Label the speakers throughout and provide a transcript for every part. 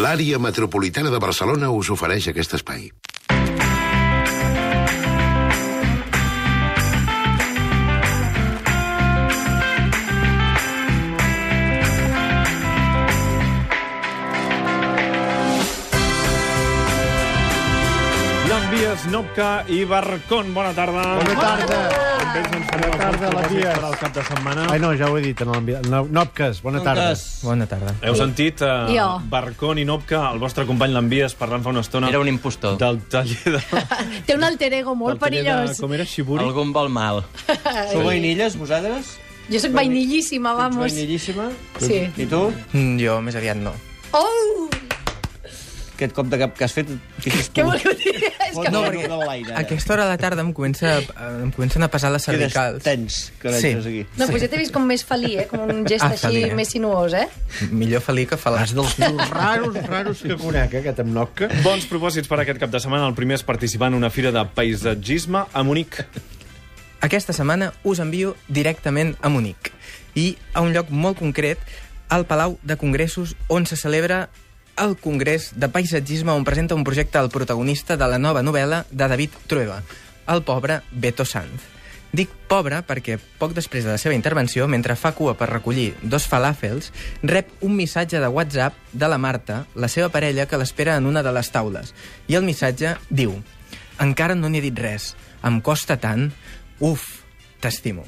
Speaker 1: L'àrea metropolitana de Barcelona us ofereix aquest espai.
Speaker 2: Nàvies, Nopca i Barcón. Bona tarda.
Speaker 3: Bona tarda.
Speaker 2: Amb ells ens farem
Speaker 3: Bona tarda,
Speaker 2: els nostres
Speaker 3: Nàvies.
Speaker 2: propòsits per al cap de setmana.
Speaker 3: Ai, no, ja ho he dit. En l'envi- no, Nopques, bona tarda.
Speaker 4: Bona tarda.
Speaker 2: Heu sentit eh,
Speaker 5: Jo.
Speaker 2: Barcón i Nopca, el vostre company l'envies parlant fa una estona
Speaker 4: Era un impostor.
Speaker 2: del taller de...
Speaker 5: Té un alter ego molt
Speaker 2: del taller
Speaker 5: perillós.
Speaker 2: De, com era, Xiburi?
Speaker 4: Algú em vol mal.
Speaker 6: Sou vainilles, vosaltres?
Speaker 5: Jo sóc vainillíssima, vamos.
Speaker 6: Vainillíssima.
Speaker 5: Sí.
Speaker 6: I tu?
Speaker 4: Mm, Jo, més aviat no.
Speaker 5: Oh!
Speaker 6: Aquest cop de cap que has fet...
Speaker 5: Què volia dir? És que...
Speaker 6: No,
Speaker 5: No,
Speaker 6: perquè... A
Speaker 4: A aquesta hora de la tarda em, comença, em comencen a pesar les
Speaker 6: Quedes
Speaker 4: cervicals.
Speaker 6: tens, que
Speaker 4: Sí.
Speaker 6: veig aquí.
Speaker 5: no, doncs ja t'he vist com més felí, eh? Com un gest
Speaker 4: Ah,
Speaker 5: així
Speaker 4: felí, eh?
Speaker 5: més sinuós, eh?
Speaker 4: Millor felí que
Speaker 3: Vas
Speaker 4: fal·laç.
Speaker 3: dels nius raros, raros que conec, eh, aquest amb Nopca.
Speaker 2: Bons propòsits per aquest cap de setmana. El primer és participar en una fira de paisatgisme a Munic.
Speaker 4: Aquesta setmana us envio directament a Munic i a un lloc molt concret, al Palau de Congressos, on se celebra el Congrés de Paisatgisme, on presenta un projecte al protagonista de la nova novel·la de David Trueba, el pobre Beto Sanz. Dic pobre perquè poc després de la seva intervenció, mentre fa cua per recollir dos falàfels, rep un missatge de WhatsApp de la Marta, la seva parella, que l'espera en una de les taules. I el missatge diu Encara no n'he dit res. Em costa tant. Uf, t'estimo.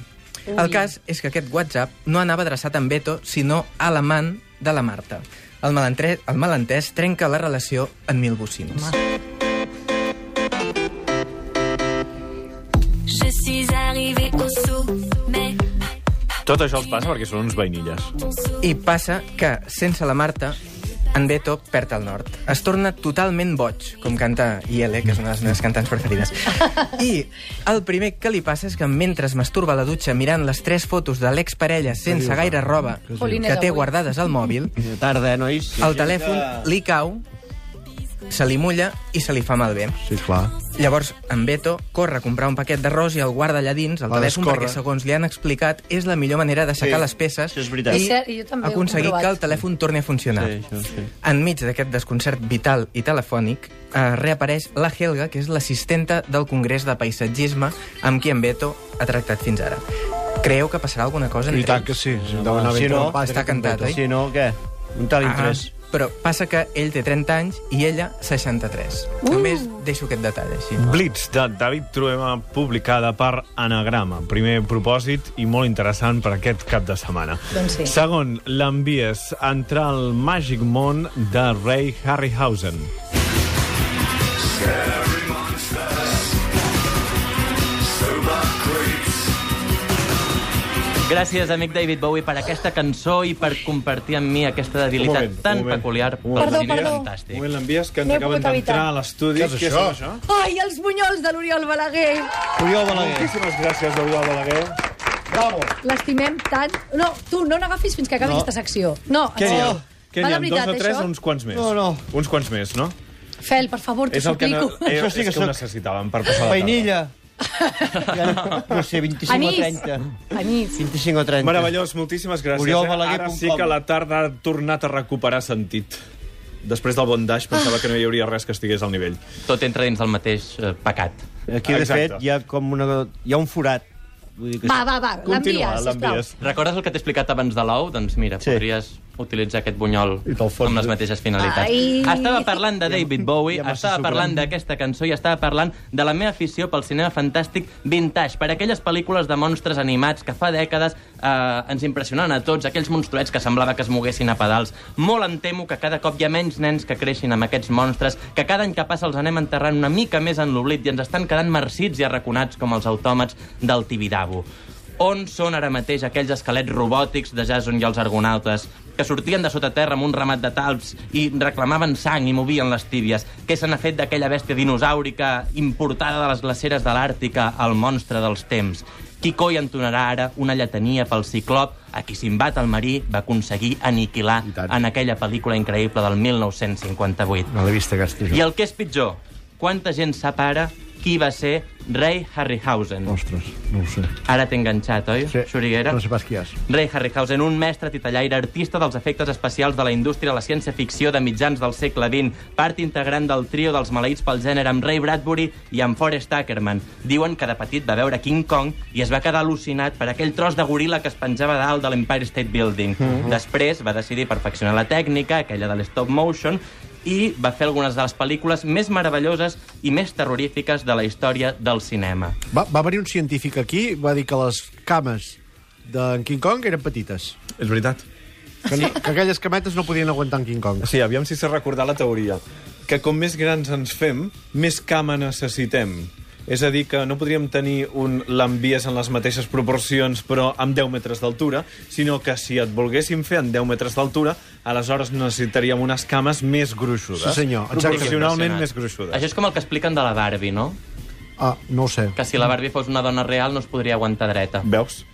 Speaker 4: El cas és que aquest WhatsApp no anava adreçat a en Beto, sinó a l'amant de la Marta. El, malentre... el malentès trenca la relació en mil bocins.
Speaker 7: Je suis arrivé au sommet.
Speaker 2: Tot això els passa perquè són uns vainilles.
Speaker 4: I passa que, sense la Marta, en Beto perd el nord. Es torna totalment boig, com canta Iele, que és una de les meves cantants preferides. I el primer que li passa és que mentre es masturba a la dutxa mirant les tres fotos de l'exparella sense gaire roba
Speaker 5: Jolín, és
Speaker 4: que té
Speaker 5: avui.
Speaker 4: guardades al mòbil,
Speaker 6: Bona tarda, eh, nois?
Speaker 4: el telèfon li cau, se li mulla i se li fa malbé.
Speaker 3: Sí, clar.
Speaker 4: Llavors, en Beto corre a comprar un paquet d'arròs i el guarda allà dins, el
Speaker 3: Va,
Speaker 4: telèfon,
Speaker 3: descorre.
Speaker 4: perquè, segons li han explicat, és la millor manera de secar
Speaker 6: Sí,
Speaker 4: les peces
Speaker 6: això és veritat.
Speaker 5: És cert, jo també ho he
Speaker 4: aconseguir
Speaker 5: comprovat.
Speaker 4: que el telèfon torni a funcionar.
Speaker 6: Sí, això, sí.
Speaker 4: Enmig d'aquest desconcert vital i telefònic, eh, reapareix la Helga, que és l'assistenta del Congrés de Paisatgisme, amb qui en Beto ha tractat fins ara. Creieu que passarà alguna cosa
Speaker 3: I
Speaker 4: entre
Speaker 3: tant que
Speaker 4: ells?
Speaker 3: sí. Si no,
Speaker 6: Ah, Doncs si no,
Speaker 4: està cantat, oi?
Speaker 6: Si no, què? Un tal
Speaker 4: Ah,
Speaker 6: interès.
Speaker 4: però passa que ell té 30 anys i ella 63. Uh. Només deixo aquest detall així.
Speaker 2: Blitz, de David Trueba, publicada per Anagrama. Primer propòsit i molt interessant per aquest cap de setmana.
Speaker 5: Doncs sí.
Speaker 2: Segon, l'envies a entrar al màgic món de Ray Harryhausen.
Speaker 8: Gràcies, amic David Bowie, per aquesta cançó i per compartir amb mi aquesta debilitat
Speaker 2: Un moment,
Speaker 8: tan
Speaker 2: un moment.
Speaker 8: peculiar
Speaker 2: Un moment.
Speaker 8: pel
Speaker 5: Perdó,
Speaker 8: cine
Speaker 5: perdó.
Speaker 2: Un
Speaker 8: fantàstic.
Speaker 2: moment l'envies, que ens
Speaker 5: No he
Speaker 2: acaben d'entrar
Speaker 5: pogut evitar.
Speaker 2: a l'estudi.
Speaker 3: Què és això?
Speaker 5: Ai, els bunyols de l'Oriol Balaguer!
Speaker 6: Oriol Balaguer.
Speaker 2: Moltíssimes gràcies, Oriol Balaguer.
Speaker 5: L'estimem tant... No, tu, no n'agafis fins que acabi no. aquesta secció. No,
Speaker 2: Què n'hi ha?
Speaker 5: Oh.
Speaker 2: Què
Speaker 5: Va
Speaker 2: n'hi ha?
Speaker 5: de veritat,
Speaker 2: Dos o tres doncs,
Speaker 5: això?
Speaker 2: o uns quants més?
Speaker 6: No, no.
Speaker 2: Uns quants més, no?
Speaker 5: Fel, per favor, t'ho
Speaker 2: És el que,
Speaker 5: suplico.
Speaker 2: eh,
Speaker 6: Això sí
Speaker 2: és
Speaker 6: que
Speaker 2: que ho
Speaker 6: sóc-
Speaker 2: necessitàvem per passar la tarda.
Speaker 6: Vainilla. Ja no, no sé, 25
Speaker 5: Anís.
Speaker 6: o 30.
Speaker 5: Anís.
Speaker 6: 25 o 30.
Speaker 2: Meravellós, moltíssimes gràcies.
Speaker 6: Oriol
Speaker 2: eh?
Speaker 6: Balaguer
Speaker 2: Ara
Speaker 6: punt
Speaker 2: sí
Speaker 6: com.
Speaker 2: que la tarda ha tornat a recuperar sentit. Després del bondage pensava que no hi hauria res que estigués al nivell.
Speaker 8: Tot entra dins del mateix eh, pecat.
Speaker 6: Aquí, de
Speaker 2: Exacte.
Speaker 6: fet, hi ha com una... Hi ha un forat. Vull dir que
Speaker 5: Va, va, va,
Speaker 2: Continua,
Speaker 5: l'envies, sisplau.
Speaker 2: l'envies.
Speaker 8: Recordes el que t'he explicat abans de l'ou? Doncs mira,
Speaker 6: Sí.
Speaker 8: sí. podries utilitzar aquest bunyol
Speaker 3: I te'l fons.
Speaker 8: amb les mateixes finalitats.
Speaker 5: Ai.
Speaker 8: Estava parlant de David Bowie,
Speaker 6: ja
Speaker 8: ja
Speaker 6: massa
Speaker 8: estava
Speaker 6: sucre.
Speaker 8: parlant d'aquesta cançó i estava parlant de la meva afició pel cinema fantàstic vintage, per aquelles pel·lícules de monstres animats que fa dècades eh, ens impressionaven a tots, aquells monstruets que semblava que es moguessin a pedals. Molt em temo que cada cop hi ha menys nens que creixin amb aquests monstres, que cada any que passa els anem enterrant una mica més en l'oblit i ens estan quedant marcits i arraconats com els autòmats del Tibidabo. On són ara mateix aquells esquelets robòtics de Jason i els argonautes que sortien de sota terra amb un ramat de talps i reclamaven sang i movien les tíbies? Què se n'ha fet d'aquella bèstia dinosaurica importada de les glaceres de l'Àrtica, el monstre dels temps? Qui coi entonarà ara una lletania pel ciclop a qui Simbat el marí va aconseguir aniquilar
Speaker 3: I tant.
Speaker 8: en aquella pel·lícula increïble del 1958?
Speaker 3: No l'he vist, aquesta.
Speaker 8: I el que és pitjor, quanta gent sap ara qui va ser rei Harryhausen.
Speaker 3: eh? Ostres, no ho sé.
Speaker 8: Ara t'he enganxat, oi,
Speaker 3: Sí.
Speaker 8: Soriguera?
Speaker 3: No sé pas qui és.
Speaker 8: Ray Harryhausen, un mestre titellaire, artista dels efectes especials de la indústria de la ciència-ficció de mitjans del segle XX, part integrant del trio dels maleïts pel gènere amb Ray Bradbury i amb Forrest Ackerman. Diuen que de petit va veure King Kong i es va quedar al·lucinat per aquell tros de goril·la que es penjava dalt de l'Empire State Building.
Speaker 3: Mhm.
Speaker 8: Després va decidir perfeccionar la tècnica, aquella de l'stop motion, i va fer algunes de les pel·lícules més meravelloses i més terrorífiques de la història del cinema.
Speaker 3: Va, va venir un científic aquí i va dir que les cames d'en King Kong eren petites.
Speaker 2: És veritat.
Speaker 3: Que, no, que aquelles cametes no podien aguantar en King Kong.
Speaker 2: Sí, aviam si s'ha recordat la teoria. Que com més grans ens fem, més cama necessitem. És a dir, que no podríem tenir un l'envies en les mateixes proporcions però amb 10 metres d'altura, sinó que si et volguéssim fer en 10 metres d'altura, aleshores necessitaríem unes cames més gruixudes.
Speaker 3: Sí, senyor, exacte.
Speaker 2: Proporcionalment més gruixudes.
Speaker 8: Això és com el que expliquen de la Barbie, no?
Speaker 3: Ah, no ho sé.
Speaker 8: Que si la Barbie fos una dona real no es podria aguantar dreta.
Speaker 2: Veus?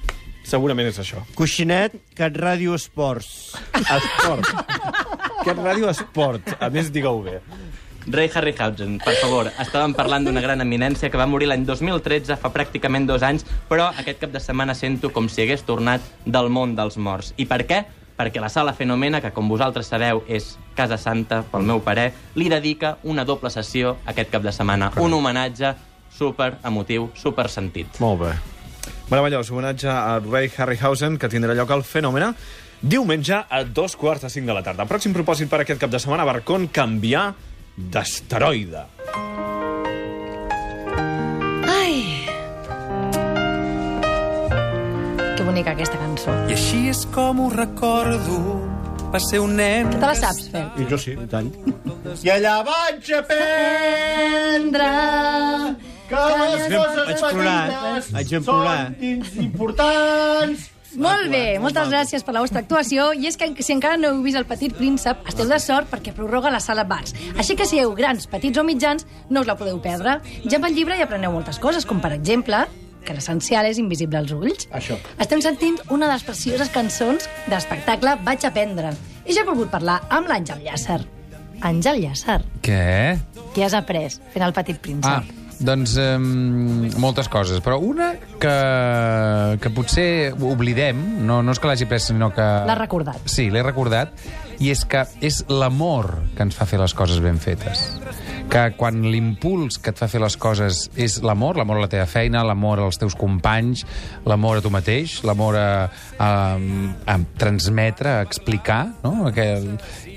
Speaker 2: Segurament és això.
Speaker 6: Coixinet, Cat Ràdio Esports.
Speaker 2: Esport. que ràdio esport. A més, digue-ho bé.
Speaker 8: Ray Harryhausen, per favor, estàvem parlant d'una gran eminència que va morir l'any 2013, fa pràcticament dos anys, però aquest cap de setmana sento com si hagués tornat del món dels morts. I per què? Perquè la Sala Fenomena, que com vosaltres sabeu és Casa Santa, pel meu parer, li dedica una doble sessió aquest cap de setmana. Un homenatge super emotiu, super sentit.
Speaker 2: Molt bé. Meravellós, homenatge a Ray Harryhausen, que tindrà lloc al Fenòmena diumenge a dos quarts de cinc de la tarda. Pròxim propòsit per aquest cap de setmana, Barcon, canviar d'asteroide.
Speaker 5: Ai! Que bonica aquesta cançó.
Speaker 9: I així és com ho recordo. Va ser un nen...
Speaker 5: Te la saps, Fer?
Speaker 3: I jo sí, i tant.
Speaker 6: I allà vaig a fer
Speaker 5: Prendre...
Speaker 3: Que les coses
Speaker 6: Vaig plorar,
Speaker 3: petites
Speaker 6: vaig plorar.
Speaker 3: són importants.
Speaker 5: Molt bé, moltes gràcies per la vostra actuació. I és que si encara no heu vist el petit príncep, esteu de sort perquè prorroga la sala bars. Així que si heu grans, petits o mitjans, no us la podeu perdre. Ja amb el llibre hi apreneu moltes coses, com per exemple que l'essencial és invisible als ulls.
Speaker 3: Això.
Speaker 5: Estem sentint una de les precioses cançons de l'espectacle Vaig aprendre. I ja he volgut parlar amb l'Àngel Llàcer. Àngel Llàcer,
Speaker 10: Què?
Speaker 5: què has après fent el petit príncep?
Speaker 10: Ah, doncs um, moltes coses, però una que, que potser oblidem, no, no és que l'hagi pres, sinó que...
Speaker 5: L'has recordat.
Speaker 10: Sí, l'he recordat, i és que és l'amor que ens fa fer les coses ben fetes. Que quan l'impuls que et fa fer les coses és l'amor, l'amor a la teva feina, l'amor als teus companys, l'amor a tu mateix, l'amor a, a, a transmetre, a explicar, no? Que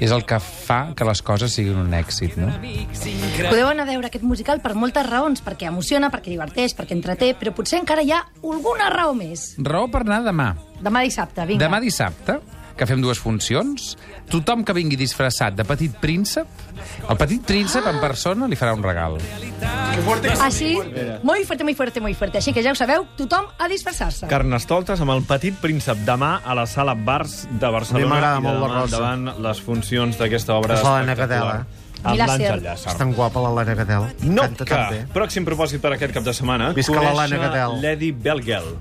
Speaker 10: és el que fa que les coses siguin un èxit, no?
Speaker 5: Podeu anar a veure aquest musical per moltes raons, perquè emociona, perquè diverteix, perquè entreté, però potser encara hi ha alguna raó més.
Speaker 10: Raó per anar demà.
Speaker 5: Demà dissabte, vinga.
Speaker 10: Demà dissabte, que fem dues funcions, tothom que vingui disfressat de petit príncep, el petit príncep en persona li farà un regal.
Speaker 5: Així, muy fuerte, muy fuerte, muy fuerte. Així que ja ho sabeu, tothom a disfressar-se.
Speaker 2: Carnestoltes amb el petit príncep demà a la sala Bars de Barcelona.
Speaker 3: A mi m'agrada
Speaker 2: I
Speaker 3: molt la
Speaker 2: demà
Speaker 3: Rosa.
Speaker 2: endavant les funcions d'aquesta obra
Speaker 3: La sala Anna
Speaker 2: espectacular.
Speaker 3: Catela.
Speaker 2: Amb
Speaker 5: Mira,
Speaker 2: l'Àngel
Speaker 5: cert.
Speaker 2: Llàcer.
Speaker 3: És tan guapa l'Helena Gadel.
Speaker 2: No,
Speaker 3: Canta tan
Speaker 2: que,
Speaker 3: bé.
Speaker 2: pròxim propòsit per aquest cap de setmana,
Speaker 3: Visca l'Helena Gadel.
Speaker 2: Lady Belgel.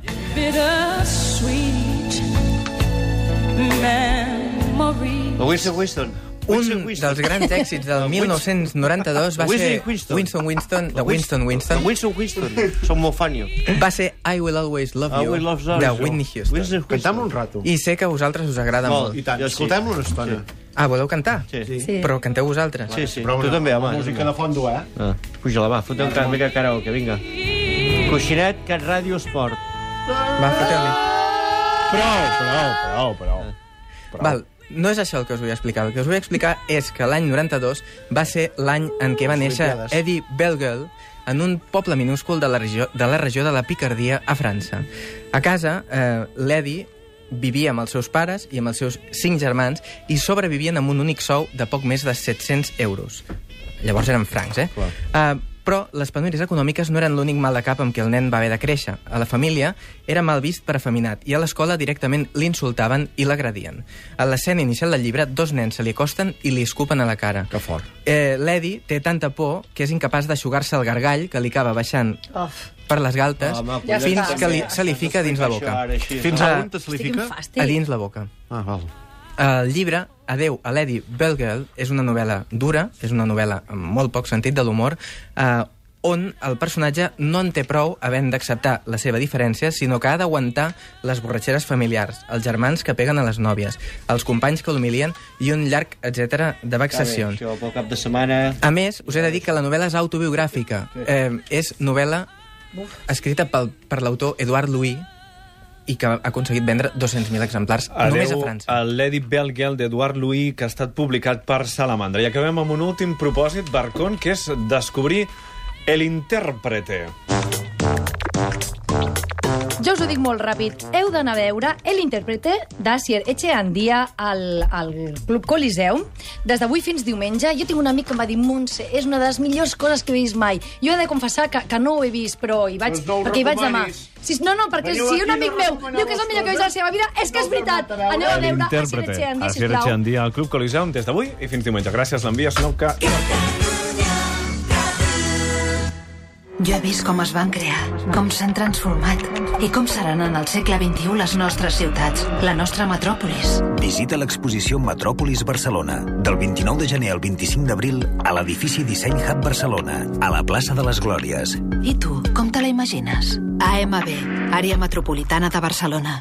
Speaker 6: Wilson, Wilson.
Speaker 4: Un dels grans èxits del 1992 va
Speaker 6: Whistler
Speaker 4: ser
Speaker 6: i Winston.
Speaker 4: Winston Winston, de Winston Winston,
Speaker 6: Wilson, Winston. Som molt fan, jo.
Speaker 4: va ser I Will Always Love
Speaker 6: I
Speaker 4: You,
Speaker 6: will love
Speaker 4: de
Speaker 6: Zorro.
Speaker 4: Whitney Houston.
Speaker 6: Wilson, Winston.
Speaker 3: Cantam un rato.
Speaker 4: I sé que a vosaltres us agrada
Speaker 6: Molt.
Speaker 4: molt.
Speaker 6: I tant, sí.
Speaker 3: Escoltem-lo una estona.
Speaker 4: Ah, voleu cantar?
Speaker 6: Sí, sí.
Speaker 5: Sí.
Speaker 4: Però canteu vosaltres.
Speaker 6: Sí, sí.
Speaker 3: Però
Speaker 6: tu
Speaker 3: una-
Speaker 6: també, home.
Speaker 3: Música de fondo, eh?
Speaker 6: Ah, Puja-la, va, foteu un mica karaoke, vinga. Coixinet, Cat Ràdio Esport.
Speaker 4: Va, foteu-li.
Speaker 2: Prou, prou, prou, prou.
Speaker 4: Val, no és això el que us vull explicar. El que us vull explicar és que l'any 92 va ser l'any en què va néixer
Speaker 3: Olimpiades.
Speaker 4: Eddie Belgel en un poble minúscul de la regió de la, regió de la Picardia a França. A casa, eh, l'Eddie vivia amb els seus pares i amb els seus cinc germans i sobrevivien amb un únic sou de poc més de 700 euros. Llavors eren francs, eh? Uh, però les penúries econòmiques no eren l'únic mal de cap amb què el nen va haver de créixer. A la família era mal vist per afeminat i a l'escola directament l'insultaven i l'agredien. A l'escena inicial del llibre, dos nens se li acosten i li escupen a la cara.
Speaker 3: Que fort.
Speaker 4: Eh, L'Eddie té tanta por que és incapaç d'aixugar-se el gargall que li acaba baixant
Speaker 5: Uf,
Speaker 4: per les galtes
Speaker 6: Home,
Speaker 5: Ja
Speaker 6: collons,
Speaker 4: fins
Speaker 5: està.
Speaker 4: que li,
Speaker 6: també.
Speaker 4: se li fica dins la boca.
Speaker 6: Això ara, així,
Speaker 3: Fins
Speaker 6: no?
Speaker 4: Ah.
Speaker 3: a on te se li
Speaker 5: estic
Speaker 3: fica?
Speaker 5: en fàstic.
Speaker 4: A dins la boca.
Speaker 3: Ah, val.
Speaker 4: El llibre Adeu a Lady Belgirl és una novel·la dura, és una novel·la amb molt poc sentit de l'humor, eh, on el personatge no en té prou havent d'acceptar la seva diferència, sinó que ha d'aguantar les borratxeres familiars, els germans que peguen a les nòvies, els companys que l'humilien i un llarg etc de vexacions.
Speaker 6: Això, pel cap de setmana...
Speaker 4: A més, us he de dir que la novel·la és autobiogràfica. Eh, és novel·la escrita pel, per l'autor Eduard Louis i que ha aconseguit vendre 200.000 exemplars només a
Speaker 2: Adeu
Speaker 4: França.
Speaker 2: Ah. a Lady Belgel d'Eduard Louis, que ha estat publicat per Salamandra. I acabem amb un últim propòsit, Barcon, que és descobrir el intèrprete.
Speaker 5: Jo us ho dic molt ràpid. Heu d'anar a veure El intèrprete d'Asier Echeandia al, al Club Coliseum des d'avui fins diumenge. Jo tinc un amic que em va dir Montse, és una de les millors coses que he vist mai. Jo he de confessar que, que no ho he vist, però hi vaig,
Speaker 11: Doncs no ho
Speaker 5: perquè hi vaig demà.
Speaker 11: recomanis.
Speaker 5: Si, no, no, perquè
Speaker 11: Veniu
Speaker 5: si un
Speaker 11: aquí, no
Speaker 5: amic meu
Speaker 11: recomaneu
Speaker 5: diu que és el millor que he vist a la seva vida, és que és veritat. Aneu a veure Asier Echeandia,
Speaker 2: Asier
Speaker 5: sisplau.
Speaker 2: Echeandia al Club Coliseum des d'avui i fins diumenge. Gràcies, l'envies, Nouca.
Speaker 12: Jo he vist com es van crear, com s'han transformat i com seran en el segle XXI les nostres ciutats, la nostra metròpolis.
Speaker 13: Visita l'exposició Metròpolis Barcelona, del 29 de gener al 25 d'abril a l'edifici Disseny Hub Barcelona, a la plaça de les Glòries.
Speaker 12: I tu, com te la imagines? AMB, Àrea Metropolitana de Barcelona.